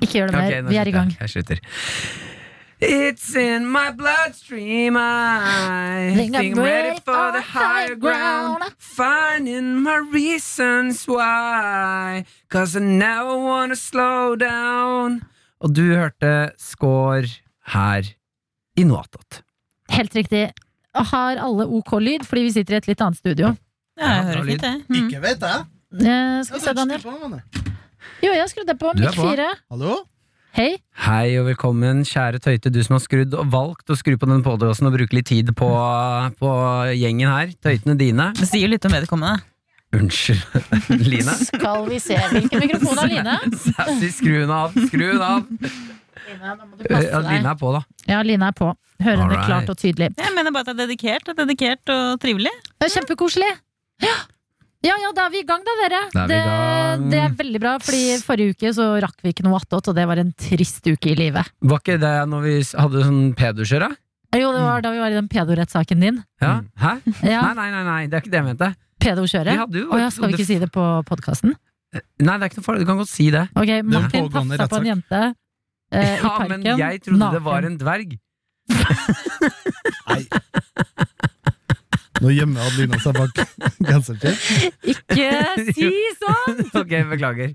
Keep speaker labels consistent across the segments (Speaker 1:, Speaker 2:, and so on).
Speaker 1: Ikke gjør det mer.
Speaker 2: Ok, nå
Speaker 1: Vi er i
Speaker 2: slutter
Speaker 1: gang.
Speaker 2: jeg. Jeg slutter. It's in my bloodstream. I think I'm ready for the higher ground. Finding my reasons why. Cause I never wanna slow down. Og du hørte score her i Noatot.
Speaker 1: Helt riktig. Har alle OK lyd, fordi vi sitter i et litt annet studio.
Speaker 3: Ja, jeg
Speaker 2: Ja, bra
Speaker 3: hører fint, jeg. Mm.
Speaker 4: Ikke vet jeg.
Speaker 1: Eh, skal vi se,
Speaker 4: Jeg
Speaker 1: Daniel.
Speaker 4: på meg, det.
Speaker 1: Jo, jeg skrudde på.
Speaker 2: Du er
Speaker 1: Mikk
Speaker 2: på.
Speaker 1: fire.
Speaker 4: Hallo?
Speaker 1: Hei.
Speaker 2: Hei og velkommen, kjære Tøyte, du som har skrudd og valgt å skru på den podkasten og bruke litt tid på, på gjengen her. Tøytene dine.
Speaker 3: Det sier jo litt om vedkommende.
Speaker 2: Unnskyld, Line.
Speaker 1: Skal vi se. Hvilken mikrofon er Line?
Speaker 2: Sassy, skru den av! Skru den av!
Speaker 1: Line, nå må du
Speaker 2: Eh, Ja,
Speaker 1: passe
Speaker 2: Line
Speaker 1: deg.
Speaker 2: er på, da.
Speaker 1: Ja, Line er på. Hører henne
Speaker 2: Alright.
Speaker 1: klart og tydelig.
Speaker 3: Jeg mener bare at det er dedikert, det er dedikert og trivelig.
Speaker 1: Det er Kjempekoselig. Ja. ja ja, da er vi i gang da, dere.
Speaker 2: Da er vi i gang.
Speaker 1: Det, det er veldig bra, fordi forrige uke så rakk vi ikke noe attåt, og det var en trist uke i livet.
Speaker 2: Var ikke det når vi s- hadde sånn pederskjør, da?
Speaker 1: Jo, det var da vi var i den pedorettssaken din.
Speaker 2: Ja. Hæ?
Speaker 1: Ja,
Speaker 2: Nei, nei, nei, nei, det er ikke det jeg mente. Vi
Speaker 1: pedokjøret.
Speaker 2: hadde jo
Speaker 1: Å ja, skal vi ikke si det på podkasten?
Speaker 2: Nei, det er ikke noe farlig, du kan godt si det.
Speaker 1: Ok, Martin
Speaker 4: pågående
Speaker 1: tafsa på en jente eh, i
Speaker 2: Ja,
Speaker 1: parken.
Speaker 2: men jeg trodde det var
Speaker 1: naken.
Speaker 2: en dverg.
Speaker 4: Nei. Nå gjemmer Adelina seg bak genseren sin.
Speaker 1: Ikke si sånn!
Speaker 2: Ok, beklager.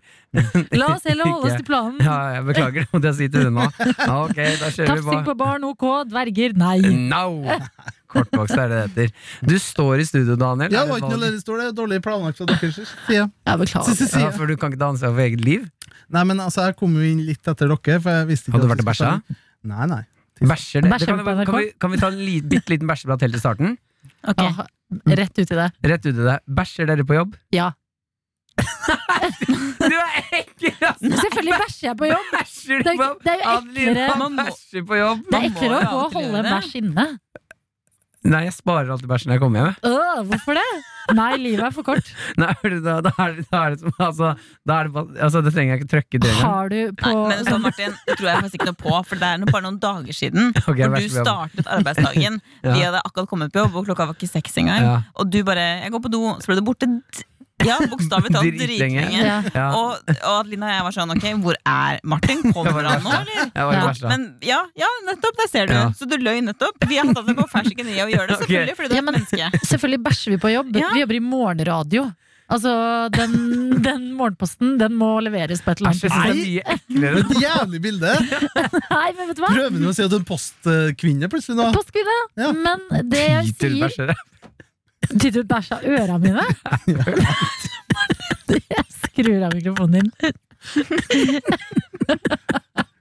Speaker 1: La oss heller holde oss
Speaker 2: Ikke.
Speaker 1: til planen.
Speaker 2: Ja, jeg beklager, det måtte jeg si til henne nå. Ja, ok, da kjører vi på.
Speaker 1: Tafsing på barn, ok. Dverger, nei.
Speaker 2: No! Kortvokst er det det heter. Du står i studio, Daniel. Er
Speaker 4: Ja, det var
Speaker 2: det
Speaker 4: ikke noe
Speaker 2: valg-
Speaker 4: ledig stol, det er dårlig planlagt fra deres side.
Speaker 1: Ja, beklager.
Speaker 4: Siste
Speaker 2: ja,
Speaker 4: side.
Speaker 2: for du kan ikke ta ansvar for eget liv?
Speaker 4: Nei, men altså, jeg kom jo inn litt etter dere, for jeg visste ikke
Speaker 2: Hadde du
Speaker 4: at
Speaker 2: vært
Speaker 4: vi
Speaker 2: og
Speaker 4: skulle
Speaker 2: bæsja?
Speaker 4: ta- Nei, nei.
Speaker 2: Bæsjer det?
Speaker 1: Bæsjer
Speaker 2: det
Speaker 1: vi på
Speaker 2: kan, kan,
Speaker 1: NRK?
Speaker 2: vi, kan vi ta en li, bitte liten bæsjeprat helt til starten?
Speaker 3: Ok.
Speaker 1: Ja, rett ut i det.
Speaker 2: Rett ut i det. Bæsjer dere på jobb?
Speaker 1: Ja.
Speaker 2: Du er ekkel, ass!
Speaker 1: Men selvfølgelig bæsjer jeg på jobb.
Speaker 2: Bæsjer
Speaker 1: Det
Speaker 2: du
Speaker 1: er,
Speaker 2: på
Speaker 1: ikke-
Speaker 2: jobb?
Speaker 1: det er jo
Speaker 2: Adelina
Speaker 1: eklere
Speaker 3: man må-
Speaker 2: bæsjer på jobb!
Speaker 1: Det er
Speaker 3: Man må
Speaker 1: eklere å
Speaker 3: jo
Speaker 1: gå og
Speaker 3: alltid
Speaker 1: holde en
Speaker 3: gjøre det.
Speaker 1: bæsj inne.
Speaker 2: Nei, jeg sparer alltid bæsjen når jeg kommer hjem. jeg.
Speaker 1: Øh, hvorfor det? Nei, livet er for kort.
Speaker 2: Nei, hører du, da, da, er det, da er det som Altså, da er det, bare- altså, det trenger jeg ikke trøkke til engang.
Speaker 1: Har du på
Speaker 3: Nei, men så Martin, det tror jeg faktisk ikke noe på, for det er nå bare noen dager siden.
Speaker 2: Ok, jeg
Speaker 3: Hvor
Speaker 2: bæsjer
Speaker 3: du
Speaker 2: på jobb.
Speaker 3: startet arbeidsdagen.
Speaker 2: Ja.
Speaker 3: Vi hadde akkurat kommet på jobb, og klokka var ikke seks engang.
Speaker 2: Ja.
Speaker 3: Og du bare 'jeg går på do', så ble du borte d- ja, bokstavelig talt
Speaker 2: Dritlenge.
Speaker 3: dritlenge.
Speaker 1: ja.
Speaker 2: Ja,
Speaker 3: Og, og Adelina og jeg var sånn 'ok, hvor er Martin? Kommer han nå, eller?'
Speaker 2: jeg var i
Speaker 1: Ja.
Speaker 2: bæsja.
Speaker 3: Men ja, ja, nettopp, der ser du.
Speaker 2: Ja.
Speaker 3: Så du løy nettopp. Vi har tatt det på fersken i å gjøre det,
Speaker 2: Ok.
Speaker 3: selvfølgelig, fordi
Speaker 1: Ja,
Speaker 3: du er et
Speaker 1: men-
Speaker 3: menneske.
Speaker 1: Selvfølgelig bæsjer vi på jobb.
Speaker 3: Ja.
Speaker 1: Vi jobber i morgenradio. Altså, den, den morgenposten den må leveres på et eller
Speaker 2: Æsj, jeg
Speaker 1: annet
Speaker 2: synes det er
Speaker 1: tidspunkt.
Speaker 2: mye eklere.
Speaker 4: Et jævlig bilde!
Speaker 1: Nei, men vet du hva?
Speaker 4: Prøver du å si at du er en postkvinne plutselig nå?
Speaker 1: Postkvinne.
Speaker 4: Ja.
Speaker 1: Men det jeg sier
Speaker 2: Titelbæsjere.
Speaker 1: Tyder ut bæsj av øra mine? Jeg skrur av mikrofonen din.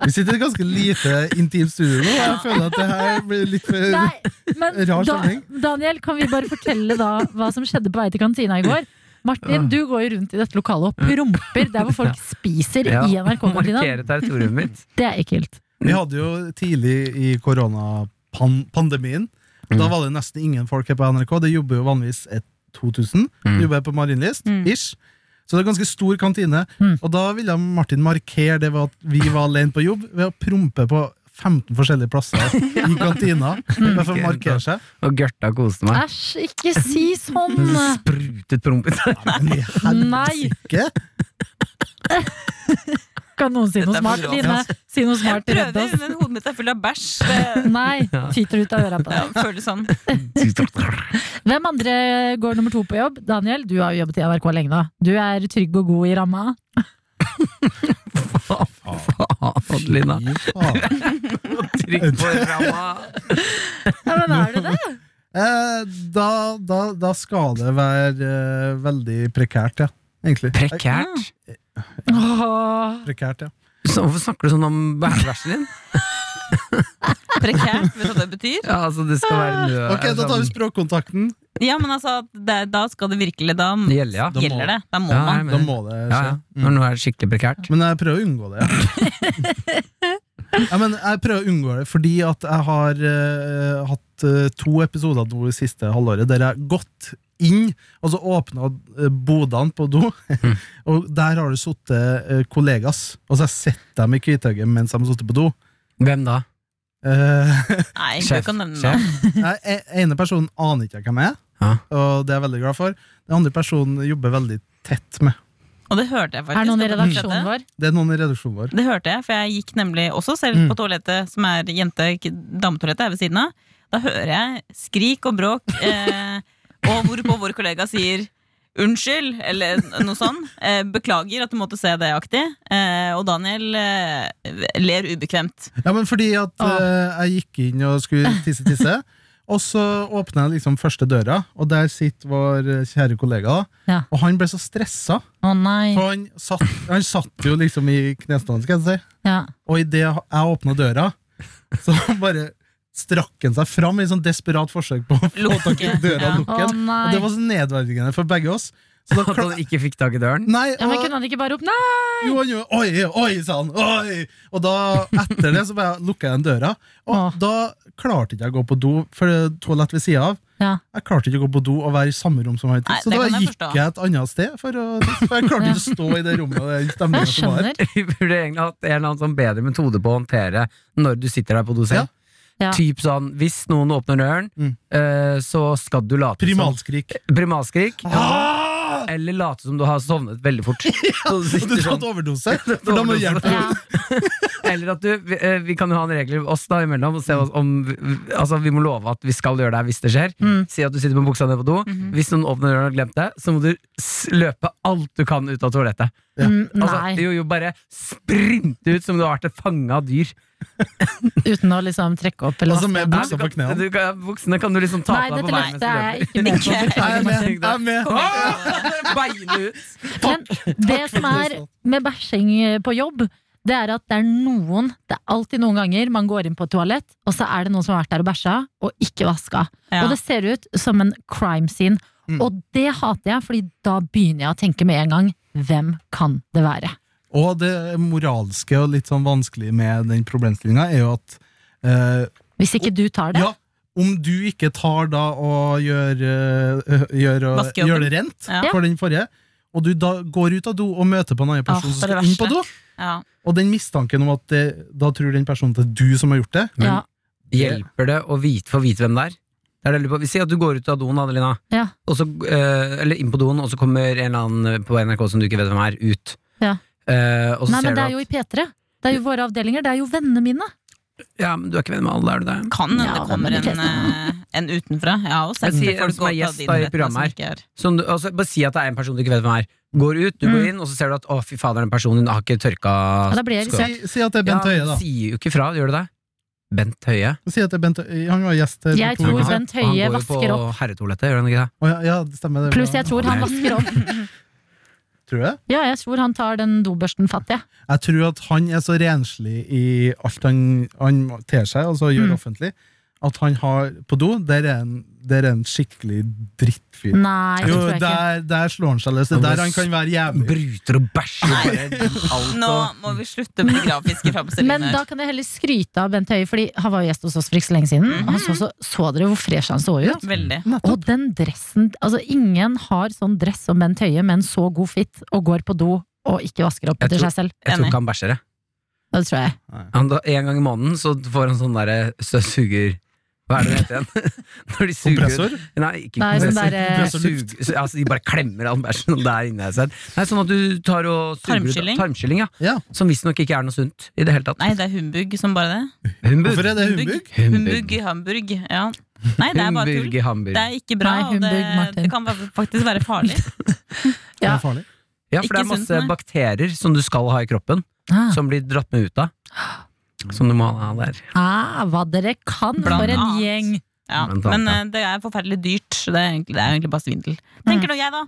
Speaker 4: Vi sitter i et ganske lite intimt studio nå, og jeg føler at det her blir litt for
Speaker 1: Nei, men
Speaker 4: Rar
Speaker 1: da,
Speaker 4: sammenheng.
Speaker 1: Daniel, kan vi bare fortelle da hva som skjedde på vei til kantina i går? Martin, du går jo rundt i dette lokalet og promper der hvor folk spiser
Speaker 2: Ja,
Speaker 1: i NRK-kantina.
Speaker 2: Markere territoriet mitt.
Speaker 1: Det er ekkelt.
Speaker 2: Mm.
Speaker 4: Vi hadde jo tidlig i koronapandemien
Speaker 2: Mm.
Speaker 4: Da var det nesten ingen folk her på NRK. Det jobber jo vanligvis et 2000.
Speaker 2: Mm.
Speaker 4: Jobber på Marienlyst.
Speaker 3: Mm.
Speaker 4: Ish. Så det er ganske stor kantine.
Speaker 1: Mm.
Speaker 4: Og da ville Martin markere det ved at vi var alene på jobb, ved å prompe på 15 forskjellige plasser i kantina. Bare for å markere seg.
Speaker 2: Og Gørta koste meg.
Speaker 1: Æsj, ikke si sånn!
Speaker 2: Hun sprutet promp ut.
Speaker 4: Men i
Speaker 1: Nei.
Speaker 4: helsike!
Speaker 1: Kan noen si noe
Speaker 3: Dette er
Speaker 1: smart,
Speaker 3: for grovt,
Speaker 1: Line? Si noe smart, redd
Speaker 3: Prøver,
Speaker 1: oss.
Speaker 3: men hodet mitt er fullt av bæsj. Det
Speaker 1: Nei, tyter ut av øra på
Speaker 3: ja,
Speaker 1: deg.
Speaker 3: føles sånn.
Speaker 1: Hvem andre går nummer to på jobb? Daniel, du har jo jobbet i NRK lenge nå. Du er trygg og god i ramma.
Speaker 2: Faen, Lina.
Speaker 4: Fy faen.
Speaker 2: Trykk på ramma.
Speaker 1: Ja, men er du det?
Speaker 4: Eh, Da, da, da skal det være eh, veldig prekært, ja. Egentlig.
Speaker 2: Prekært.
Speaker 1: Åh.
Speaker 4: Prekært, ja.
Speaker 2: Så hvorfor snakker du sånn om bæsjen din?
Speaker 3: Prekært, vet du hva det betyr?
Speaker 2: Ja, altså, det skal være nø...
Speaker 4: Ok, da tar vi
Speaker 2: sånn-
Speaker 4: språkkontakten.
Speaker 3: Ja, men altså, det, da skal det virkelig Da
Speaker 2: Det gjelder, ja.
Speaker 4: Da må-
Speaker 3: gjelder det. Da må
Speaker 2: Ja, jeg
Speaker 3: man.
Speaker 4: Da
Speaker 2: mener-
Speaker 4: må det
Speaker 2: ja,
Speaker 4: skje.
Speaker 2: ja.
Speaker 4: Mm.
Speaker 2: Når nå er det skikkelig prekært.
Speaker 4: Men jeg prøver å unngå det. Ja. ja, men jeg prøver å unngå det fordi at jeg har eh, hatt eh, to episoder nå det siste halvåret der jeg har gått inn og så åpna bodene på do,
Speaker 2: Mm.
Speaker 4: og der har det sittet eh, kollegas. Og så har jeg sett dem i hvithauget mens de har sittet på do.
Speaker 2: Hvem da?
Speaker 4: Eh,
Speaker 3: Nei, jeg
Speaker 2: Sjef.
Speaker 3: kan nevne det.
Speaker 2: Sjef?
Speaker 4: Nei, e- ene personen aner ikke jeg hvem er,
Speaker 2: Ja.
Speaker 4: og det er jeg veldig glad for. Den andre personen jobber veldig tett med.
Speaker 3: Og Og det hørte jeg
Speaker 1: Er
Speaker 3: faktisk.
Speaker 1: det noen i
Speaker 3: at det skjedde.
Speaker 1: redaksjonen vår?
Speaker 4: Det er noen i redaksjonen vår.
Speaker 3: Det hørte jeg, for jeg gikk nemlig også selv
Speaker 2: Mm.
Speaker 3: på toalettet, som er jente, ikke- dametoalettet, er ved siden av. Da hører jeg skrik og bråk, eh, og hvorpå vår kollega sier unnskyld, eller noe sånn. Eh, beklager at du måtte se det aktig. Eh, og Daniel eh, ler ubekvemt.
Speaker 4: Ja, men fordi at
Speaker 1: Åh.
Speaker 4: eh, jeg gikk inn og skulle tisse, tisse. og så åpna jeg liksom første døra, og der sitter vår eh, kjære kollega. da.
Speaker 1: Ja.
Speaker 4: Og han ble så stressa.
Speaker 1: Å nei.
Speaker 4: For han satt, han satt jo liksom i knestående, skal jeg si.
Speaker 1: Ja.
Speaker 4: Og idet jeg åpna døra, så bare strakk han seg fram i sånn desperat forsøk på å få tak i
Speaker 3: Lukke,
Speaker 4: døra
Speaker 3: ja.
Speaker 4: og lukke den.
Speaker 1: Å, nei.
Speaker 4: Og det var så nedverdigende for begge oss. Så da
Speaker 2: At
Speaker 4: kla-
Speaker 2: han ikke fikk tak i døren?
Speaker 4: Nei,
Speaker 1: Ja, men
Speaker 4: og-
Speaker 1: Kunne han ikke bare ropt nei?
Speaker 4: jo, han gjorde oi, oi, sa han. Oi. Og da, etter det, så bare lukka jeg den døra. Og
Speaker 1: Åh.
Speaker 4: da klarte ikke jeg å gå på do, for det er toalett ved sida av.
Speaker 1: Ja.
Speaker 4: Jeg klarte ikke å gå på do og være i samme rom som han.
Speaker 3: Nei,
Speaker 4: så
Speaker 3: det
Speaker 4: da
Speaker 3: kan jeg
Speaker 4: gikk
Speaker 3: forstå.
Speaker 4: jeg et annet sted, for, å, for jeg klarte
Speaker 1: Ja.
Speaker 4: ikke å stå i det rommet og den stemninga
Speaker 1: Jeg
Speaker 4: som var.
Speaker 1: skjønner.
Speaker 2: Vi burde egentlig hatt en eller annen sånn bedre metode på å håndtere når du sitter der på do selv.
Speaker 1: Ja. Ja.
Speaker 2: Typ sånn, Hvis noen åpner døren,
Speaker 4: Mm.
Speaker 2: eh, så skal du late
Speaker 4: Primalskrik.
Speaker 2: som Primalskrik.
Speaker 4: Ah!
Speaker 2: Eller late som du har sovnet veldig fort. Så du
Speaker 4: Og du
Speaker 2: sitter
Speaker 4: tatt
Speaker 2: sånn.
Speaker 4: overdose, for da må du hjelpe.
Speaker 1: Ja.
Speaker 2: Eller at du Vi, eh, vi kan jo ha en regel oss da imellom. Og se oss om, altså, vi må love at vi skal gjøre det her hvis det skjer.
Speaker 1: Mm. Mhm.
Speaker 2: Si at du sitter med buksa ned på do. Hvis noen åpner døren og har glemt det, så må du s- løpe alt du kan ut av toalettet.
Speaker 4: Ja.
Speaker 1: Mm,
Speaker 2: Altså,
Speaker 1: nei.
Speaker 2: jo, jo, bare sprinte ut som du har vært et fange av dyr.
Speaker 1: Uten å liksom trekke opp eller
Speaker 4: Altså med
Speaker 1: vaske
Speaker 4: buksa
Speaker 2: Ja,
Speaker 4: på knærne.
Speaker 2: Du kan, buksene kan du liksom ta
Speaker 1: Nei,
Speaker 2: på deg
Speaker 1: dette
Speaker 2: på veien.
Speaker 1: løftet er jeg ikke med på.
Speaker 4: Jeg er
Speaker 1: Beklager.
Speaker 4: med! Jeg er med.
Speaker 2: Beine ut.
Speaker 1: Men det som er med bæsjing eh, på jobb, det er at det er noen Det er alltid noen ganger man går inn på et toalett, og så er det noen som har vært der og bæsja og ikke vaska.
Speaker 3: Ja.
Speaker 1: Og det ser ut som en crime scene.
Speaker 4: Mm.
Speaker 1: Og det hater jeg, Fordi da begynner jeg å tenke med en gang hvem kan det være?
Speaker 4: Og det moralske og litt sånn vanskelig med den problemstillinga er jo at eh,
Speaker 1: Hvis ikke du tar det.
Speaker 4: Ja, om du ikke tar da og gjør, øh, øh, gjør, og-
Speaker 3: Vaskejobben.
Speaker 4: gjør det rent
Speaker 3: Ja.
Speaker 4: for den forrige, og du da går ut av do og møter på en annen person
Speaker 3: Ah,
Speaker 4: som
Speaker 3: for det
Speaker 4: skal inn
Speaker 3: verste.
Speaker 4: på do,
Speaker 3: Ja.
Speaker 4: og den mistanken om at det, da tror den personen at det er du som har gjort det
Speaker 1: Ja,
Speaker 2: Hjelper det å vite, få vite hvem det er? Det er det jeg lurer på. Vi sier at du går ut av doen, Adelina,
Speaker 1: ja,
Speaker 2: og så, eh, eller inn på doen, og så kommer en eller annen eh, på NRK som du ikke vet hvem er, ut.
Speaker 1: Ja.
Speaker 2: Eh, og så
Speaker 1: Nei, men
Speaker 2: ser du
Speaker 1: det
Speaker 2: at
Speaker 1: er jo i P3. Det er jo våre avdelinger. Det er jo vennene mine.
Speaker 2: Ja, men du er ikke venn med alle, er du det?
Speaker 3: Kan hende
Speaker 1: Ja,
Speaker 3: det kommer
Speaker 1: det
Speaker 3: en,
Speaker 1: må du
Speaker 3: eh, en utenfra. Jeg har også sett
Speaker 2: Men si
Speaker 3: det
Speaker 2: en
Speaker 3: folk
Speaker 2: som er
Speaker 3: gå på
Speaker 2: gjest
Speaker 3: din
Speaker 2: da i
Speaker 3: rett,
Speaker 2: programmet
Speaker 3: som
Speaker 2: her.
Speaker 3: ikke er-
Speaker 2: Som du, altså, bare si at det er en person du ikke vet hvem er. Går ut, du går inn, og så ser du at å, fy fader, den personen har ikke
Speaker 1: Ja, Mm.
Speaker 2: tørka
Speaker 1: da blir jeg sånn-
Speaker 2: skoene.
Speaker 1: irritert.
Speaker 4: Si, si at det er Bent Høie, da.
Speaker 2: Sier jo ikke fra, gjør du det? Bent Høie?
Speaker 4: Si at det er Bent Høie. Han var gjest her.
Speaker 1: Jeg
Speaker 4: for to
Speaker 1: tror
Speaker 4: uker siden.
Speaker 1: Bent Høie
Speaker 2: Han går
Speaker 1: vasker
Speaker 2: jo
Speaker 1: opp.
Speaker 2: på herretoalettet, gjør han ikke det?
Speaker 4: Å, ja, ja, det stemmer. Det
Speaker 1: Pluss jeg tror han
Speaker 2: Nei.
Speaker 1: vasker opp.
Speaker 4: Tror jeg.
Speaker 1: Ja, jeg tror han tar den dobørsten fatt, jeg.
Speaker 4: jeg tror at han er så renslig i alt han, han ter seg, altså gjør
Speaker 1: Mm.
Speaker 4: offentlig, at han har på do, der er en, der er en skikkelig drittfyr.
Speaker 1: Nei, det
Speaker 4: Jo,
Speaker 1: tror jeg ikke.
Speaker 4: der, der slår han seg løs. Det er
Speaker 2: Han
Speaker 4: der han kan være jævlig.
Speaker 2: Bryter og bæsjer og bare alt
Speaker 3: Nå
Speaker 2: og
Speaker 3: må vi slutte med de grafiske
Speaker 1: Men
Speaker 3: framstillingene.
Speaker 1: da kan jeg heller skryte av Bent Høie, Fordi han var jo gjest hos oss for ikke så lenge siden.
Speaker 2: Mhm.
Speaker 1: Og så, så, så dere hvor fresh han så ut?
Speaker 3: Veldig.
Speaker 1: Og den dressen Altså, ingen har sånn dress som Bent Høie med en så god fit og går på do og ikke vasker opp
Speaker 2: Jeg
Speaker 1: etter
Speaker 2: tror-
Speaker 1: seg selv.
Speaker 2: Jeg tror
Speaker 3: Enig.
Speaker 2: ikke han bæsjer, jeg.
Speaker 1: Det tror jeg.
Speaker 2: Han da, en gang i måneden så får han sånn derre støvsuger... Hva er det det heter igjen? Når de suger ut-
Speaker 4: Kompressor?
Speaker 2: Nei, ikke
Speaker 1: Nei, sånn
Speaker 2: kompressor.
Speaker 1: der, eh,
Speaker 2: Sug, altså, de bare klemmer all bæsjen sånn der inne. i seg. Nei, sånn at du tar og suger ut-
Speaker 3: Tarmskylling.
Speaker 2: Tarmskylling, ja.
Speaker 4: Ja.
Speaker 2: Som visstnok ikke er noe sunt i det hele tatt.
Speaker 3: Nei, det er humbug som bare det.
Speaker 2: Humbug.
Speaker 4: Hvorfor er det humbug?
Speaker 3: Humbug i Hamburg. Ja. Nei, det er bare
Speaker 2: Humbug
Speaker 3: tull.
Speaker 2: i Hamburg.
Speaker 3: Det er ikke bra,
Speaker 1: Nei,
Speaker 3: og
Speaker 1: humbug, Martin.
Speaker 3: det, det kan være- faktisk være farlig.
Speaker 4: Det
Speaker 1: Ja.
Speaker 4: er farlig.
Speaker 2: Ja, for det er
Speaker 3: ikke
Speaker 2: masse
Speaker 3: sunt, nei.
Speaker 2: bakterier som du skal ha i kroppen,
Speaker 1: Ah,
Speaker 2: som blir dratt med ut av. Som du må ha der.
Speaker 1: ah, hva dere kan
Speaker 3: Blant
Speaker 1: for en
Speaker 3: annet.
Speaker 1: gjeng!
Speaker 3: Ja.
Speaker 2: Blant annet,
Speaker 3: Men
Speaker 2: ja.
Speaker 3: eh, det er forferdelig dyrt. så Det er egentlig, det er egentlig bare svindel. Tenker nå jeg, da.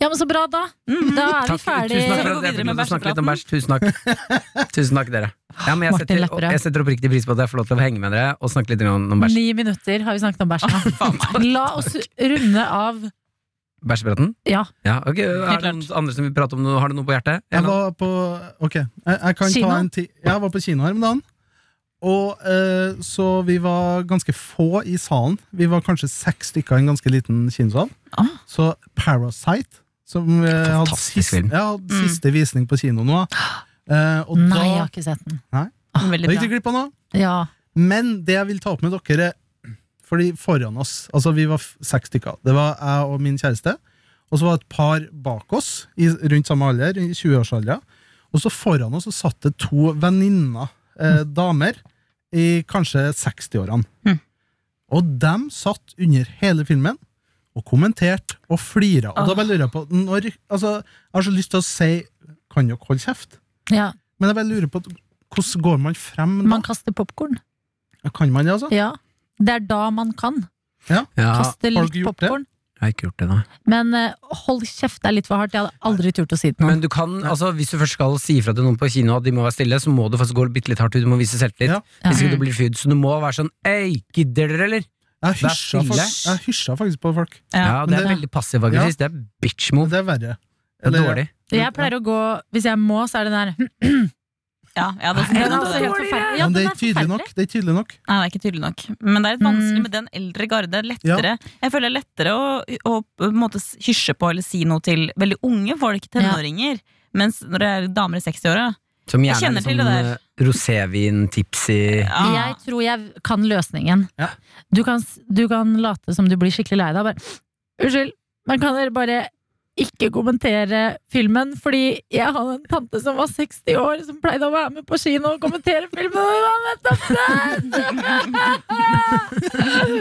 Speaker 1: Ja, men så bra, da! Da er vi
Speaker 2: Takk,
Speaker 1: ferdig.
Speaker 2: Tusen takk for
Speaker 3: Vi går
Speaker 2: at jeg fikk lov
Speaker 3: videre med
Speaker 2: til å snakke litt om bæsj. Tusen takk. Tusen takk, dere. Ja, men jeg
Speaker 1: Martin
Speaker 2: setter,
Speaker 1: Lepperød.
Speaker 2: jeg setter oppriktig pris på at jeg får lov til å henge med dere og snakke litt om om bæsj.
Speaker 1: Ni minutter har vi snakket om bæsj nå. La oss runde av.
Speaker 2: Bæsjepraten?
Speaker 1: Ja,
Speaker 2: Ja, ok. Er det
Speaker 3: Helt klart.
Speaker 2: noen andre som vil prate om noe? Har du noe på hjertet?
Speaker 4: Jeg
Speaker 2: Eller noe?
Speaker 4: var på Ok, jeg, jeg kan
Speaker 1: Kino?
Speaker 4: ta en ti Jeg var på kino her om dagen. Og eh, Så vi var ganske få i salen. Vi var kanskje seks stykker i en ganske liten kinosal.
Speaker 3: Ah.
Speaker 4: Så Parasite, som eh, hadde,
Speaker 2: Fantastisk
Speaker 4: siste,
Speaker 2: film.
Speaker 4: ja, hadde siste visning på kino nå eh, Og
Speaker 1: Mm. Nei, jeg
Speaker 4: da
Speaker 1: har ikke sett den.
Speaker 4: Da
Speaker 2: Ah.
Speaker 3: Veldig
Speaker 4: gikk
Speaker 3: bra.
Speaker 4: det glipp av noe.
Speaker 1: Ja.
Speaker 4: Men det jeg vil ta opp med dere er- Fordi foran oss, altså vi var f- seks stykker Det var jeg og min kjæreste Og så var det et par bak oss, i, rundt samme alder, i 20-årsalder. Og så foran oss så satt det to venninner, eh, damer, i kanskje 60-årene.
Speaker 3: Mm.
Speaker 4: Og dem satt under hele filmen og kommenterte og flira. Og da bare lurer jeg på når, altså, Jeg har så lyst til å si Kan dere holde kjeft?
Speaker 1: Ja.
Speaker 4: Men jeg bare lurer på hvordan går man frem da?
Speaker 1: Man kaster popkorn.
Speaker 4: Kan man det, altså?
Speaker 1: Ja. Det er da man kan.
Speaker 2: Ja,
Speaker 1: Kaste
Speaker 4: har
Speaker 1: litt
Speaker 4: dere gjort det?
Speaker 1: popkorn.
Speaker 2: jeg har ikke gjort det, nei.
Speaker 1: Men eh, hold kjeft det er litt for hardt. Jeg hadde aldri turt å si det til noen.
Speaker 2: Men du kan, altså, hvis du først skal si ifra til noen på kino at de må være stille, så må du faktisk gå bitte litt hardt ut. Du må vise selvtillit.
Speaker 4: Ja.
Speaker 1: Ja.
Speaker 2: Hvis ikke du blir fyrt. Så du må være sånn Øy, gidder dere, eller?
Speaker 4: Jeg
Speaker 2: Det er
Speaker 4: hysja
Speaker 2: stille.
Speaker 4: fak- jeg hysja faktisk på folk.
Speaker 3: Ja,
Speaker 2: Ja, det
Speaker 4: men
Speaker 2: er
Speaker 1: det-
Speaker 2: veldig passiv-aggressivt. Det er bitch move.
Speaker 4: Det er verre.
Speaker 2: Det er
Speaker 4: Eller-
Speaker 2: dårlig.
Speaker 1: Jeg pleier å gå, hvis jeg må, så er det den der
Speaker 3: Ja, jeg hadde også
Speaker 1: Den er
Speaker 3: tenkt
Speaker 1: også
Speaker 3: det.
Speaker 1: helt forferdelig. Ja,
Speaker 4: Men det
Speaker 1: den
Speaker 4: er tydelig nok.
Speaker 1: forferdelig.
Speaker 4: Det er tydelig nok.
Speaker 3: Nei, det er ikke tydelig nok. Men det er litt vanskelig
Speaker 1: Mm.
Speaker 3: med den eldre garde. Lettere. Jeg føler det er lettere å, å på en måte hysje på eller si noe til veldig unge folk, tenåringer. Mens når det er damer i 60-åra
Speaker 2: Som
Speaker 3: Jeg
Speaker 2: gjerne
Speaker 3: kjenner
Speaker 2: er
Speaker 3: til
Speaker 2: sånn eh, rosévin-tipsy
Speaker 3: ja.
Speaker 1: Jeg tror jeg kan løsningen.
Speaker 4: Ja.
Speaker 1: Du, kan, s- du kan late som du blir skikkelig lei deg. Bare, Unnskyld, men kan dere bare ikke kommentere filmen? Fordi jeg har en tante som var 60 år, som pleide å være med på kino og kommentere filmen. Og hun var nettopp død!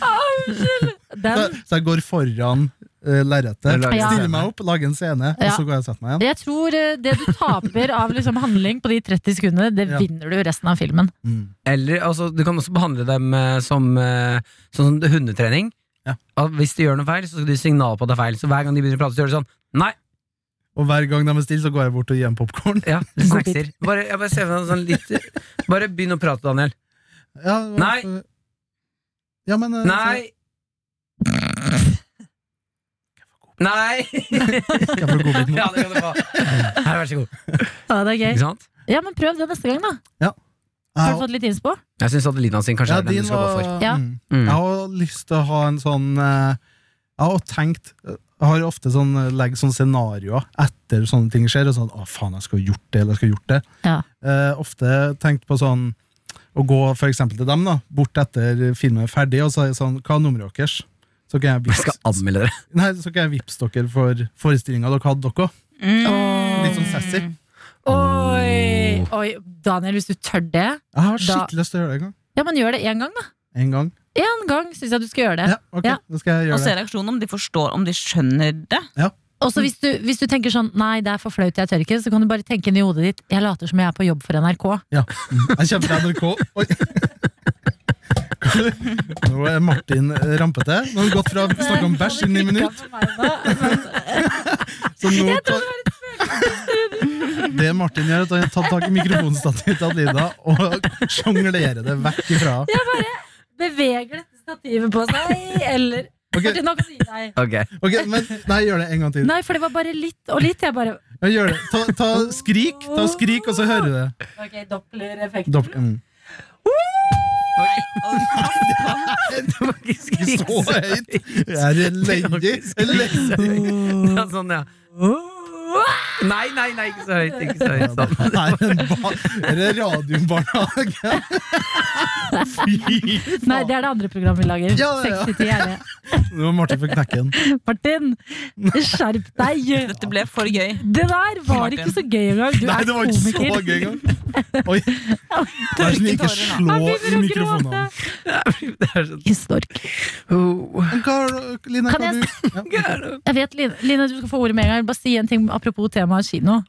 Speaker 1: Å, Unnskyld!
Speaker 4: Så,
Speaker 1: Den.
Speaker 4: så jeg går foran uh, lerretet,
Speaker 2: Eller lager
Speaker 1: Ja.
Speaker 2: en
Speaker 4: stiller
Speaker 2: scene.
Speaker 4: meg opp, lager en scene, og
Speaker 1: Ja.
Speaker 4: så går jeg og setter meg igjen.
Speaker 1: Jeg tror eh, det du taper av liksom handling på de 30 sekundene, det
Speaker 4: Ja.
Speaker 1: vinner du resten av filmen.
Speaker 4: Mm.
Speaker 2: Eller altså, du kan også behandle dem eh, som eh, sånn som hundetrening.
Speaker 4: Ja.
Speaker 2: At hvis de gjør noe feil, så skal du gi signal på at det er feil. Så hver gang de begynner å prate, så gjør du sånn. Nei!
Speaker 4: Og hver gang de er stille, så går jeg bort og gir dem popkorn.
Speaker 2: Ja, snackser. Bare, jeg bare ser for meg sånn litt Bare begynn å prate, Daniel.
Speaker 4: Ja, hva-
Speaker 2: Nei.
Speaker 4: Ja, men, eh,
Speaker 2: Nei! Nei!
Speaker 4: så- Jeg får godbit nå.
Speaker 2: Ja, det kan du få. Her, vær så god.
Speaker 1: Ja, det er
Speaker 2: Ikke
Speaker 1: gøy.
Speaker 2: sant?
Speaker 1: Ja, men prøv det neste gang, da. Har du
Speaker 4: Jeg-
Speaker 1: fått litt innspo?
Speaker 2: Jeg syns Adelina sin kanskje
Speaker 4: Ja,
Speaker 2: er den
Speaker 4: din
Speaker 2: du skal gå for.
Speaker 4: var-
Speaker 1: Ja.
Speaker 4: Mm.
Speaker 2: Mm.
Speaker 4: Jeg har lyst til å ha en sånn eh, Jeg har tenkt Jeg har ofte sånn, eh, legger sånne scenarioer etter sånne ting skjer. Og sånn, å faen, jeg skulle ha gjort det, eller jeg skulle ha gjort det.
Speaker 1: Ja.
Speaker 4: Eh, ofte tenkt på sånn å gå for eksempel til dem, da, bort etter filmen er ferdig, og så er det sånn Hva er nummeret deres? Så kan jeg
Speaker 2: Jeg skal
Speaker 4: vips-
Speaker 2: anmelde dere.
Speaker 4: Nei, så kan jeg vips dere for forestillinga dere hadde, dere òg.
Speaker 3: Mm.
Speaker 4: Litt sånn sassy.
Speaker 1: Oi, oi, Daniel, hvis du tør det
Speaker 4: Jeg
Speaker 1: Da-
Speaker 4: har skikkelig lyst til å gjøre det en gang.
Speaker 1: Ja, men gjør det én gang, da.
Speaker 4: En gang.
Speaker 1: En gang syns jeg du skal gjøre det.
Speaker 4: Ja, ok,
Speaker 1: Ja.
Speaker 4: da skal jeg
Speaker 3: Og
Speaker 4: gjøre
Speaker 3: se
Speaker 4: det.
Speaker 3: reaksjonen, om de forstår, om de skjønner det.
Speaker 1: Og så hvis, du- hvis du tenker sånn nei, det er for flaut, jeg tør ikke, så kan du bare tenke inn i hodet ditt jeg later som jeg er på jobb for NRK.
Speaker 4: Ja. Mm. Jeg kommer til NRK. Oi. Nå er Martin eh, rampete. Nå har vi gått fra å snakke om bæsj i ni minutter. Så nå tar... Det Martin gjør, er at han har tatt tak i mikrofonstativet til Adelina og sjonglerer det vekk ifra.
Speaker 1: Beveger dette stativet på seg, eller
Speaker 4: Ok,
Speaker 1: Nå kan du gi deg.
Speaker 2: Ok.
Speaker 4: ok, men Nei, gjør det en gang til.
Speaker 1: Nei, for det var bare litt og litt. Jeg bare
Speaker 4: Ja, Gjør det. Ta, ta skrik, ta skrik, og så hører du det.
Speaker 1: Ok, dopplereffekt.
Speaker 4: Dopp- mm.
Speaker 2: Det var ikke skrik.
Speaker 4: Så høyt! Det er elendig. elendig.
Speaker 2: Ja, sånn, ja. Nei, nei, nei, ikke så høyt. Ikke så høyt sånn.
Speaker 4: Det er en bar Er det radiobarnehage? Fy faen!
Speaker 1: Nei, det er det andre programmet vi lager.
Speaker 4: Ja, ja, ja.
Speaker 1: 60 til gjerne.
Speaker 4: Nå var Martin for knekken.
Speaker 1: Martin, skjerp deg!
Speaker 3: Dette ble for gøy.
Speaker 1: Det der var ikke så gøy engang. Du
Speaker 4: Nei,
Speaker 1: er
Speaker 4: det var ikke så
Speaker 1: komiker.
Speaker 4: gøy engang. Oi. Vær så snill, ikke slå
Speaker 1: Han
Speaker 4: i
Speaker 1: begynner å
Speaker 4: mikrofonene.
Speaker 1: gråte.
Speaker 2: Det er sånn.
Speaker 1: Ikke snork.
Speaker 2: Oh.
Speaker 4: Men hva har du- Line,
Speaker 1: Kan
Speaker 4: hva har
Speaker 1: jeg
Speaker 4: du ja.
Speaker 1: Jeg vet, Line, Line, du skal få ordet med en gang. Bare si en ting apropos temaet kino.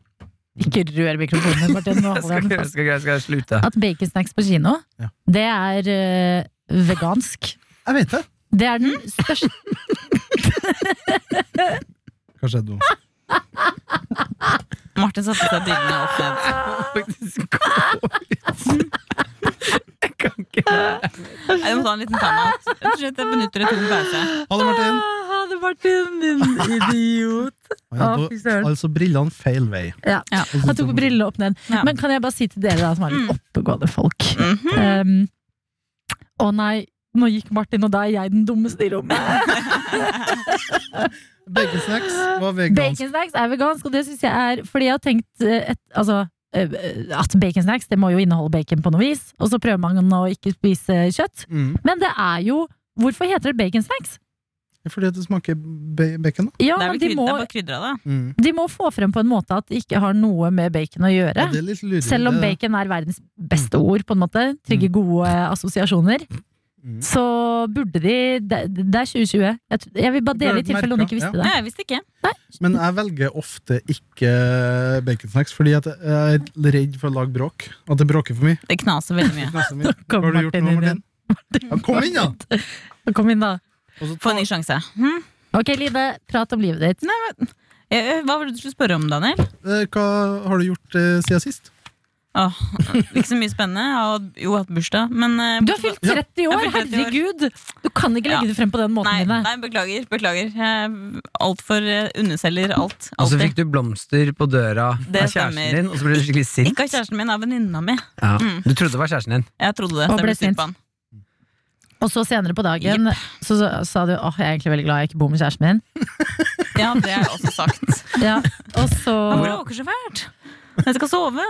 Speaker 1: Ikke rør mikrofonen din, Martin. Nå
Speaker 2: Jeg
Speaker 1: holder jeg
Speaker 2: skal,
Speaker 1: den
Speaker 2: jeg
Speaker 1: fast.
Speaker 2: skal, jeg skal slutte.
Speaker 1: At baconsnacks på kino,
Speaker 4: Ja.
Speaker 1: det er eh, vegansk.
Speaker 4: Jeg vet det.
Speaker 1: Det er den største
Speaker 4: Hva skjedde nå?
Speaker 3: Martin satte seg brillene opp ned.
Speaker 2: Ah. Faktisk gå ut. Jeg kan ikke.
Speaker 3: Nei, Jeg må ta en liten timeout. Rett og slett et minutt eller to med pause.
Speaker 4: Ha det, Martin.
Speaker 1: Ha det, Martin, din idiot!
Speaker 4: Han hadde
Speaker 1: Å, fy søren.
Speaker 4: altså brillene feil vei.
Speaker 1: Ja.
Speaker 3: Ja.
Speaker 1: Han tok brillene opp ned.
Speaker 3: Ja.
Speaker 1: Men kan jeg bare si til dere da, som er litt oppegående folk
Speaker 3: Mhm.
Speaker 1: um, Å nei, nå gikk Martin, og da er jeg den dummeste i rommet.
Speaker 4: Baconsnacks var vegansk.
Speaker 1: Baconsnacks er vegansk, og det syns jeg er fordi jeg har tenkt eh, et, altså, eh, at baconsnacks det må jo inneholde bacon på noe vis, og så prøver man å ikke spise kjøtt.
Speaker 4: Mm.
Speaker 1: Men det er jo Hvorfor heter det baconsnacks?
Speaker 4: Fordi at det smaker be bacon, da.
Speaker 1: Ja,
Speaker 3: Det er
Speaker 1: men
Speaker 3: vel
Speaker 1: de
Speaker 3: kryd,
Speaker 1: må,
Speaker 3: det er bare krydra, da.
Speaker 4: Mm.
Speaker 1: de må få frem på en måte at det ikke har noe med bacon å gjøre.
Speaker 4: Ja, det er litt luring,
Speaker 1: Selv om
Speaker 4: det,
Speaker 1: bacon er verdens beste ord, på en måte, trygge gode eh, assosiasjoner,
Speaker 4: Mm.
Speaker 1: så burde de Det, det er 2020. Jeg, tr- jeg vil bare dele i tilfelle noen ikke visste
Speaker 3: Nei,
Speaker 1: det.
Speaker 3: jeg visste ikke.
Speaker 4: Men jeg velger ofte ikke baconsnacks, fordi at jeg er redd for å lage bråk. At det bråker for mye.
Speaker 3: Det knaser veldig mye.
Speaker 4: Knaser mye.
Speaker 1: Kom,
Speaker 4: Hva har du gjort
Speaker 1: Martin,
Speaker 4: nå,
Speaker 1: inn
Speaker 4: Martin? Ja, kom inn, da!
Speaker 1: Kom inn, da.
Speaker 4: Og så
Speaker 3: Få
Speaker 4: tar-
Speaker 3: en ny sjanse. Hm?
Speaker 1: Ok, Line, prat om livet ditt.
Speaker 3: Eh, Hva var det du skulle spørre om, Daniel?
Speaker 4: Eh, Hva har du gjort eh, siden sist?
Speaker 3: Åh, ikke så mye spennende. Jeg har jo hatt bursdag, men eh,
Speaker 1: Du har fylt 30 år!
Speaker 3: Jeg har fylt 30 år.
Speaker 1: Herregud! Du kan ikke legge
Speaker 3: Ja.
Speaker 1: det frem på den måten,
Speaker 3: Nei,
Speaker 1: Line.
Speaker 3: nei, beklager. beklager Jeg Altfor underselger alt.
Speaker 1: Altså,
Speaker 2: Og så
Speaker 3: alltid.
Speaker 2: Altså, fikk du blomster på døra
Speaker 3: Det
Speaker 2: av kjæresten
Speaker 3: stemmer.
Speaker 2: din, og så ble du skikkelig sint.
Speaker 3: Ikke av kjæresten min, av venninna mi.
Speaker 2: Ja.
Speaker 3: Mm.
Speaker 2: Du trodde det var kjæresten din.
Speaker 3: Jeg trodde det.
Speaker 1: Og
Speaker 3: så jeg
Speaker 1: ble
Speaker 3: ble sint
Speaker 1: sint.
Speaker 3: på han.
Speaker 1: Og så senere på dagen så, så sa du åh, jeg er egentlig veldig glad jeg ikke bor med kjæresten min.
Speaker 3: Ja, det har jeg også sagt.
Speaker 1: Ja, og så
Speaker 3: Han bråker så fælt. Jeg skal sove.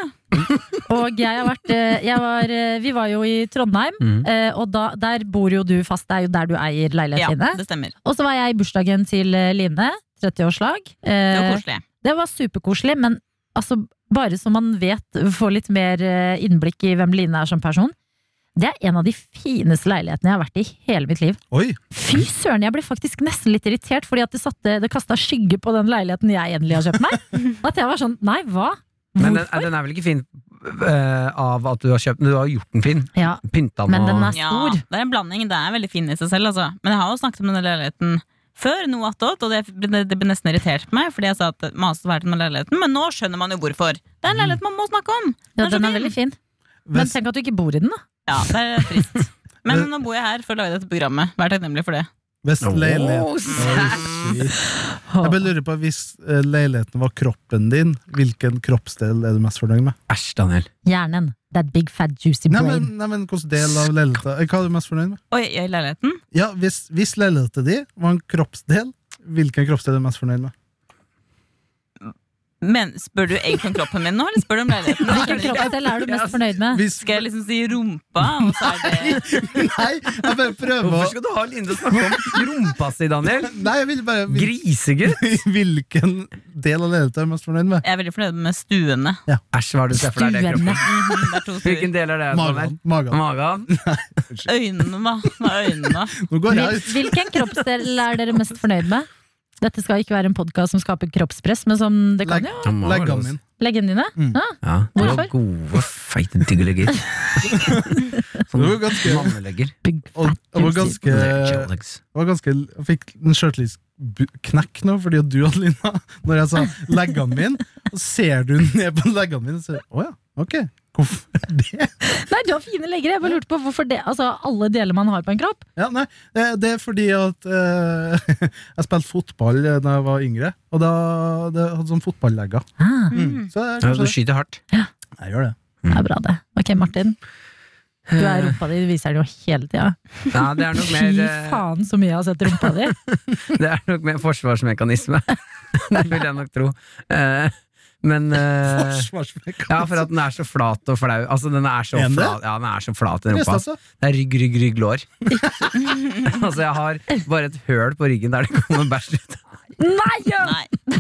Speaker 1: Og jeg har vært eh, jeg var, eh, Vi var jo i Trondheim,
Speaker 4: Mm.
Speaker 2: Mhm.
Speaker 1: eh, og da, der bor jo du fast. Det er jo der du eier
Speaker 3: Ja,
Speaker 1: leiligheten dine.
Speaker 3: det stemmer.
Speaker 1: Og så var jeg i bursdagen til eh, Line. 30-årslag.
Speaker 3: Det var
Speaker 1: Eh,
Speaker 3: koselig.
Speaker 1: det var superkoselig, men altså, bare så man vet, får litt mer eh, innblikk i hvem Line er som person. Det er en av de fineste leilighetene jeg har vært i i hele mitt liv.
Speaker 4: Oi!
Speaker 1: Fy søren, jeg ble faktisk nesten litt irritert, fordi at det, satte, det kasta skygge på den leiligheten jeg endelig har kjøpt meg. At jeg var sånn, nei, hva?
Speaker 2: Men den, den er vel ikke fin eh, av at du har kjøpt den? Du har gjort den fin.
Speaker 1: Ja,
Speaker 2: Pynta den
Speaker 1: men den
Speaker 2: og
Speaker 1: er stor.
Speaker 3: Ja, det er en blanding. Det er veldig fin i seg selv, altså. Men jeg har jo snakket om den leiligheten før, noe attåt, og det ble, det ble nesten irritert på meg, fordi jeg sa at det maste verdt med leiligheten, men nå skjønner man jo hvorfor. Det
Speaker 1: Mm.
Speaker 3: er en leilighet man må snakke om.
Speaker 1: Ja,
Speaker 3: så
Speaker 1: den er
Speaker 3: fin.
Speaker 1: veldig fin. Men
Speaker 4: Hvis,
Speaker 1: tenk at du ikke bor i den, da.
Speaker 3: Ja, det er trist. Men nå bor jeg her for å lage dette programmet. Vær takknemlig for det.
Speaker 4: hvis
Speaker 2: Åh,
Speaker 4: leiligheten Oi, shit. Jeg bare lurer på Hvis eh, leiligheten var kroppen din, hvilken kroppsdel er du mest fornøyd med?
Speaker 2: Æsj, Daniel.
Speaker 1: Hjernen. That big fat juicy
Speaker 4: Nei,
Speaker 1: brain.
Speaker 4: men, nei, men hvilken del av leiligheten eh, Hva er du mest fornøyd med?
Speaker 3: Oi, i leiligheten?
Speaker 4: Ja, Hvis, hvis leiligheten din var en kroppsdel, hvilken kroppsdel er du mest fornøyd med?
Speaker 3: Men spør du egentlig om kroppen min nå, eller spør du om leiligheten? Jeg
Speaker 1: Hvilken
Speaker 3: skjønner ikke.
Speaker 1: kroppsdel er du mest fornøyd med?
Speaker 4: Hvis,
Speaker 3: Skal jeg liksom si rumpa, og så er det
Speaker 4: nei, jeg bare prøver å
Speaker 2: Hvorfor skal du ha Linde å snakke om rumpa si, Daniel?
Speaker 4: Nei, jeg vil bare vil,
Speaker 2: Grisegutt!
Speaker 4: Hvilken del av leiligheten er du mest fornøyd med?
Speaker 3: Jeg er veldig fornøyd med stuene.
Speaker 2: Æsj, hva er det du ser for deg? Det er
Speaker 1: Stuene.
Speaker 2: kroppen.
Speaker 3: Mhm, Det er to stuer.
Speaker 2: Hvilken del er det? Daniel?
Speaker 4: Magen. magen.
Speaker 2: Magen?
Speaker 3: Øynene, da. Det er øynene.
Speaker 4: Nå går
Speaker 1: Hvil-
Speaker 4: jeg ut.
Speaker 1: Hvilken kroppsdel er dere mest fornøyd med? Dette skal ikke være en podkast som skaper kroppspress, men som det kan
Speaker 4: Legg-
Speaker 1: jo.
Speaker 2: altså.
Speaker 4: Leggene mine.
Speaker 1: Leggene dine.
Speaker 4: Mm.
Speaker 1: Ja,
Speaker 2: Ja, du har gode, feite diggelegger.
Speaker 4: Det var ganske,
Speaker 2: Mammelegger. Sånn
Speaker 1: big
Speaker 4: og,
Speaker 1: fat
Speaker 4: det var
Speaker 1: juicy.
Speaker 4: ganske, det var ganske Jeg fikk en sjøltillitsknekk nå, fordi at du, Adelina, når jeg sa 'leggene mine', så ser du ned på leggene mine og sier 'å ja, ok'. Hvorfor er det?
Speaker 1: Nei, du har fine legger. Jeg bare lurte på hvorfor det Altså, alle deler man har på en kropp.
Speaker 4: Ja, nei, det, det er fordi at eh, jeg spilte fotball eh, da jeg var yngre, og da det hadde sånn fotballegger.
Speaker 1: Ah,
Speaker 4: Mm. Så det er
Speaker 2: Ja, du
Speaker 4: kanskje det.
Speaker 2: skyter hardt.
Speaker 4: Jeg gjør det.
Speaker 1: det er bra, det. Ok, Martin. Du er rumpa di, du viser den jo hele tida.
Speaker 2: Ja, det er nok
Speaker 1: Fy
Speaker 2: mer, eh,
Speaker 1: faen så mye jeg har sett rumpa di.
Speaker 2: det er nok mer forsvarsmekanisme. Det vil jeg nok tro. Eh, Men eh,
Speaker 4: Forsvarsmekanisme.
Speaker 2: Ja, for at den er så flat og flau. Altså, den er så
Speaker 4: Er den det?
Speaker 2: flat, ja, den er så flat den
Speaker 4: Yes,
Speaker 2: rumpa.
Speaker 4: altså.
Speaker 2: Det er rygg, rygg, rygg, lår. altså, jeg har bare et høl på ryggen der det kommer bæsj ut.
Speaker 1: Nei! ja!
Speaker 3: Nei.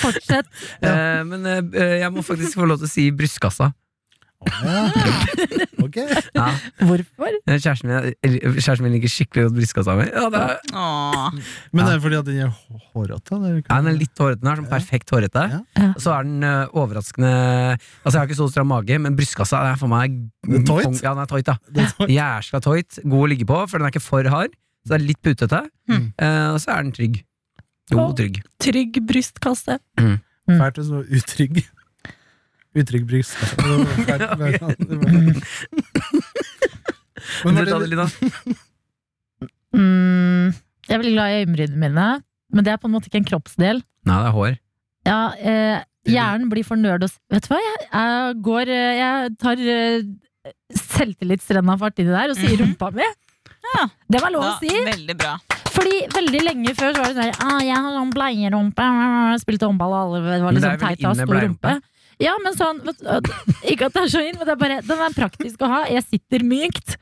Speaker 1: Fortsett.
Speaker 2: Eh, men eh, jeg må faktisk få lov til å si brystkassa.
Speaker 4: Ja. Ok.
Speaker 2: Ja,
Speaker 1: Hvorfor?
Speaker 2: Eh, kjæresten, min, kjæresten min liker skikkelig godt brystkassa mi. Ja, det er-
Speaker 3: Åh.
Speaker 4: Men det er fordi at den er hå- hårete? eller?
Speaker 2: Ja, den er litt hårete. Den er sånn perfekt hårete.
Speaker 1: Ja.
Speaker 2: Så er den eh, overraskende Altså, jeg har ikke så stram mage, men brystkassa er for meg
Speaker 4: Den er tight.
Speaker 2: Ja, den er tight, ja.
Speaker 4: Det er-
Speaker 2: Jæskla tight. God å ligge på, for den er ikke for hard. Så det er litt putete.
Speaker 3: Mm.
Speaker 2: Eh, og så er den trygg. Jo, trygg.
Speaker 1: Trygg brystkasse. Mm.
Speaker 4: Fælt og så utrygg. Utrygg brystkasse. Det var fælt. Det var- det var-
Speaker 2: Men
Speaker 4: Men var
Speaker 2: du,
Speaker 4: det-
Speaker 2: Adelina,
Speaker 1: Mm, jeg er veldig glad i øyenbrynene mine, men det er på en måte ikke en kroppsdel.
Speaker 2: Nei, det er hår.
Speaker 1: Ja, eh, Hjernen blir for nerd og s- Vet du hva, jeg, jeg går eh, Jeg tar eh, selvtillitsrenna fart inni der og sier
Speaker 3: Mhm.
Speaker 1: rumpa mi.
Speaker 3: Ja.
Speaker 1: Det var lov
Speaker 3: Ja,
Speaker 1: å si!
Speaker 3: veldig bra.
Speaker 1: Fordi veldig lenge før så var det sånn her, ah, Jeg har sånn bleierumpe, jeg spilte håndball, og alle var
Speaker 2: Men det er
Speaker 1: liksom
Speaker 2: vel
Speaker 1: teite og
Speaker 2: inne
Speaker 1: stor
Speaker 2: bleierumpe?
Speaker 1: rumpe. Ja, men sånn vet, du, at- Ikke at det er så inn, men det er bare, den er praktisk å ha. Jeg sitter mykt.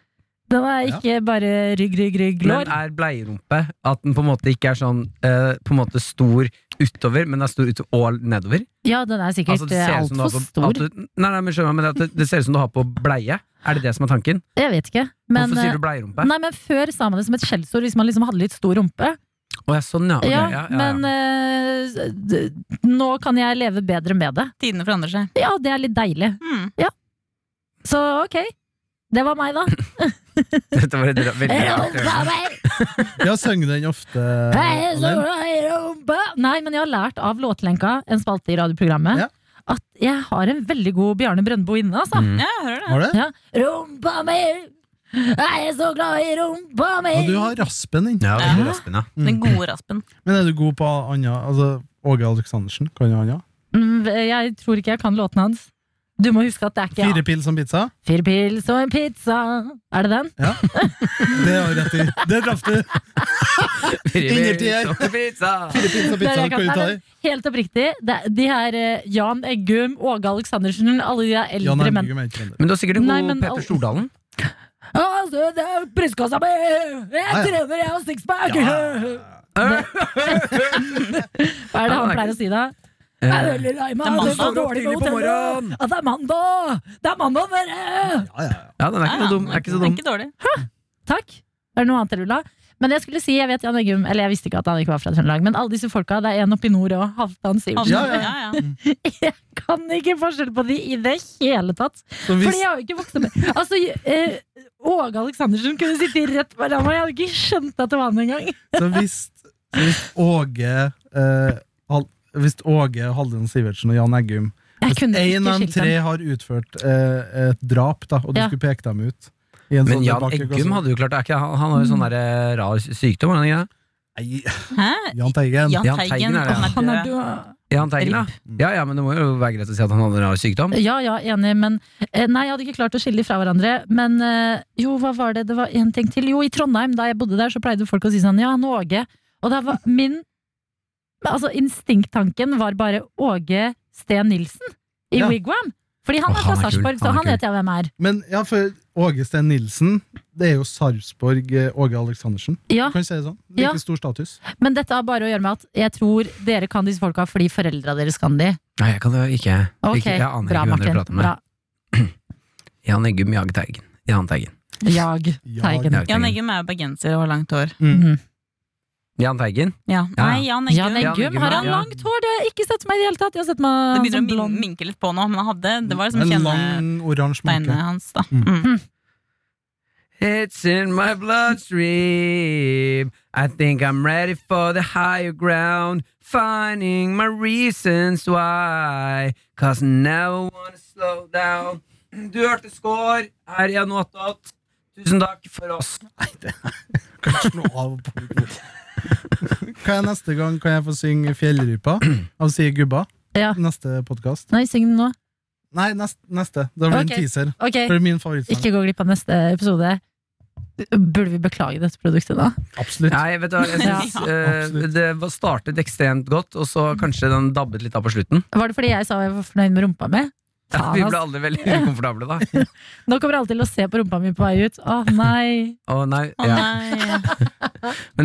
Speaker 1: Den er ikke bare rygg, rygg, rygg,
Speaker 2: Men
Speaker 1: lår.
Speaker 2: er bleierumpe at den på en måte ikke er sånn eh, På en måte stor utover, men den er stor ut og nedover?
Speaker 1: Ja, den er sikkert
Speaker 2: Altså,
Speaker 1: eh,
Speaker 2: ser ut som du har
Speaker 1: altfor
Speaker 2: på- at
Speaker 1: stor.
Speaker 2: du- Nei, nei, men skjønner jeg, men at det, det ser ut som du har på bleie. Er det det som er tanken?
Speaker 1: Jeg vet ikke. Men,
Speaker 2: Hvorfor sier
Speaker 1: eh,
Speaker 2: du bleierumpe?
Speaker 1: nei, men før sa man det som et skjellsord hvis man liksom hadde litt stor rumpe.
Speaker 2: Å, ja, sånn, ja. Ok,
Speaker 1: ja,
Speaker 2: ja, ja, ja.
Speaker 1: Men eh, d- nå kan jeg leve bedre med det.
Speaker 3: Tidene forandrer seg.
Speaker 1: Ja, det er litt deilig.
Speaker 3: Hmm.
Speaker 1: Så ok. Det var meg, da. Eh,
Speaker 2: Dette var et ra- veldig rart hjørne.
Speaker 4: Ja, synger den ofte? Alen?
Speaker 1: Nei, men jeg har lært av Låtlenka, en spalte i radioprogrammet,
Speaker 4: Ja.
Speaker 1: at jeg har en veldig god Bjarne Brøndbo inne, altså.
Speaker 2: Mm.
Speaker 3: Ja, jeg hører det.
Speaker 4: Har du det?
Speaker 1: Ja. Rumpa mi! Jeg er så glad i rumpa mi!
Speaker 4: Ja, du har raspen din.
Speaker 2: Ja,
Speaker 3: Ja.
Speaker 2: veldig raspen, ja.
Speaker 3: Den gode raspen.
Speaker 4: Men er du god på Anja? Altså, Åge Aleksandersen, kan du Anja?
Speaker 1: Mm, Jeg tror ikke jeg kan låten hans. Du må huske at det er ikke
Speaker 4: Fire pils som pizza?
Speaker 1: Fire pils og en pizza. Er det den?
Speaker 4: Ja. Det har du rett i. Det traff du! Innertier.
Speaker 2: Pizza.
Speaker 4: Fire pils og
Speaker 1: Nei,
Speaker 4: pizza
Speaker 1: jeg
Speaker 4: kan
Speaker 1: kan-
Speaker 4: du ta
Speaker 1: Nei,
Speaker 4: i.
Speaker 1: men Helt oppriktig. Det, er- de her eh, Jan Eggum, Åge Aleksandersen, alle de der
Speaker 4: Jan
Speaker 1: eldre menn.
Speaker 4: Hermugum er ikke trønder.
Speaker 2: Men du har sikkert en
Speaker 1: Nei,
Speaker 2: god
Speaker 1: men al-
Speaker 2: Pepper Stordalen.
Speaker 1: Altså, det er brystkassa mi! Jeg
Speaker 4: Ja, ja.
Speaker 1: trener, jeg har sixpack!
Speaker 4: Ja.
Speaker 1: Hva er det
Speaker 2: Ja,
Speaker 1: han
Speaker 2: han er
Speaker 1: pleier å si da?
Speaker 2: Eh,
Speaker 1: Jeg er veldig lei meg.
Speaker 3: Det er
Speaker 1: Det går
Speaker 3: mandag.
Speaker 1: dårlig med
Speaker 2: Tidlig på
Speaker 1: hotellet.
Speaker 2: morgenen.
Speaker 1: Ja, det er mandag! Det er mandag, dere!
Speaker 4: Ja, ja, ja.
Speaker 2: Ja, den er ikke,
Speaker 3: Ja,
Speaker 2: så dum.
Speaker 3: den
Speaker 2: Er ikke så dum.
Speaker 3: Ikke dårlig.
Speaker 1: Takk. Er det noe annet dere vil ha? Men jeg skulle si, jeg vet Jan Eggum, eller jeg visste ikke at han ikke var fra Trøndelag, men alle disse folka, det er en oppe i nord og Halvdan Sivertsen.
Speaker 4: Ja,
Speaker 3: Ja, ja, ja.
Speaker 1: Jeg kan ikke forskjell på de i det hele tatt.
Speaker 4: Så hvis,
Speaker 1: Fordi jeg har jo ikke vokst opp med Altså, eh, Åge Aleksandersen kunne sitte rett på ramma, jeg hadde ikke skjønt at det var han engang.
Speaker 4: så hvis, så hvis Åge eh, Hal- Hvis Åge, Halden Sivertsen og Jan Eggum
Speaker 1: Jeg
Speaker 4: Hvis
Speaker 1: kunne
Speaker 4: en
Speaker 1: Mm, ikke
Speaker 4: av de
Speaker 1: skilt
Speaker 4: tre
Speaker 1: dem.
Speaker 4: har utført eh, et drap, da, og du
Speaker 1: Ja.
Speaker 4: skulle peke dem ut i en
Speaker 2: Men
Speaker 4: sånn
Speaker 2: Jan
Speaker 4: tilbake-
Speaker 2: Eggum hadde jo klart det. Er ikke, han, han har jo
Speaker 1: Mm.
Speaker 2: sånn der, eh, rar sykdom, har han ikke det?
Speaker 4: Nei,
Speaker 3: Hæ?
Speaker 4: Jan Teigen.
Speaker 3: Jahn
Speaker 2: Jahn
Speaker 3: Teigen,
Speaker 2: Teigen er det,
Speaker 3: han er
Speaker 1: Han er
Speaker 3: død.
Speaker 1: død.
Speaker 2: Jahn Teigen, ja. ja. Ja, men det må jo være greit å si at han hadde en rar sykdom.
Speaker 1: Ja, ja, enig, men eh, Nei, jeg hadde ikke klart å skille de fra hverandre. Men eh, jo, hva var det? Det var én ting til. Jo, i Trondheim, da jeg bodde der, så pleide folk å si sånn Ja, han Åge. Og da var min Altså, instinkttanken var bare Åge Sten Nilsen i
Speaker 4: Ja.
Speaker 1: Wigwam. Fordi han
Speaker 2: Å,
Speaker 1: er fra
Speaker 2: han er kul,
Speaker 1: Sarpsborg, så
Speaker 2: han er
Speaker 1: han
Speaker 2: kul.
Speaker 1: vet jeg hvem er.
Speaker 4: Men ja, for Åge Steen Nilsen, det er jo Sarpsborg eh, Åge Aleksandersen.
Speaker 1: Ja,
Speaker 4: Kan vi si det sånn? Like
Speaker 1: Ja.
Speaker 4: stor status.
Speaker 1: Men dette har bare å gjøre med at jeg tror dere kan disse folka fordi foreldra deres kan de.
Speaker 2: Nei, jeg kan jo ikke.
Speaker 1: Ok,
Speaker 2: ikke jeg aner
Speaker 1: bra,
Speaker 2: ikke hvem dere
Speaker 1: Martin.
Speaker 2: prater med.
Speaker 1: Bra.
Speaker 2: Jan Eggum, Jan Teigen. Jan Teigen.
Speaker 1: Jag
Speaker 4: Jag.
Speaker 1: Teigen.
Speaker 2: Jag.
Speaker 3: Jan Eggum er jo bergenser og har langt hår.
Speaker 1: Mhm.
Speaker 2: Jan Teigen.
Speaker 3: Ja. Nei, Jan
Speaker 1: Jan
Speaker 3: Eggum.
Speaker 2: Eggum,
Speaker 1: Eggum, har han
Speaker 2: ja.
Speaker 1: langt hår? Det har jeg ikke sett meg i det hele tatt. Jeg har sett
Speaker 3: Det
Speaker 1: meg
Speaker 3: begynner
Speaker 1: som
Speaker 3: å min-
Speaker 1: blond.
Speaker 3: minke litt på nå, men han hadde, det var liksom
Speaker 4: En
Speaker 3: kjennesteinene
Speaker 4: lang oransje make.
Speaker 3: hans. da.
Speaker 4: Mm.
Speaker 3: Mm.
Speaker 2: It's in my bloodstream. I think I'm ready for the higher ground. Finding my reasons why. Cause now I wanna slow down. Du hørte score her i Jan 88. Tusen takk for oss.
Speaker 4: Kan jeg slå av på Kan jeg neste gang kan jeg få synge Fjellrypa av Si Gubba?
Speaker 1: Ja.
Speaker 4: Neste podkast?
Speaker 1: Nei, syng den nå.
Speaker 4: Nei, nest, neste. Da blir det
Speaker 1: Ok.
Speaker 4: en teaser.
Speaker 1: Ok,
Speaker 4: For det er min favorittsang.
Speaker 1: ikke gå glipp av neste episode. Burde vi beklage dette produktet nå?
Speaker 4: Absolutt.
Speaker 2: Nei, vet du hva, jeg synes,
Speaker 3: Ja.
Speaker 2: eh,
Speaker 4: Absolutt.
Speaker 2: Det var- startet ekstremt godt, og så kanskje den dabbet litt av på slutten.
Speaker 1: Var det fordi jeg sa jeg var fornøyd med rumpa mi?
Speaker 2: Ja,
Speaker 1: Faen,
Speaker 2: vi ble
Speaker 1: ass.
Speaker 2: alle veldig ukomfortable da.
Speaker 1: Nå kommer alle til å se på rumpa mi på vei ut. Å nei.
Speaker 2: Å nei,
Speaker 3: Å
Speaker 2: ja.
Speaker 3: nei.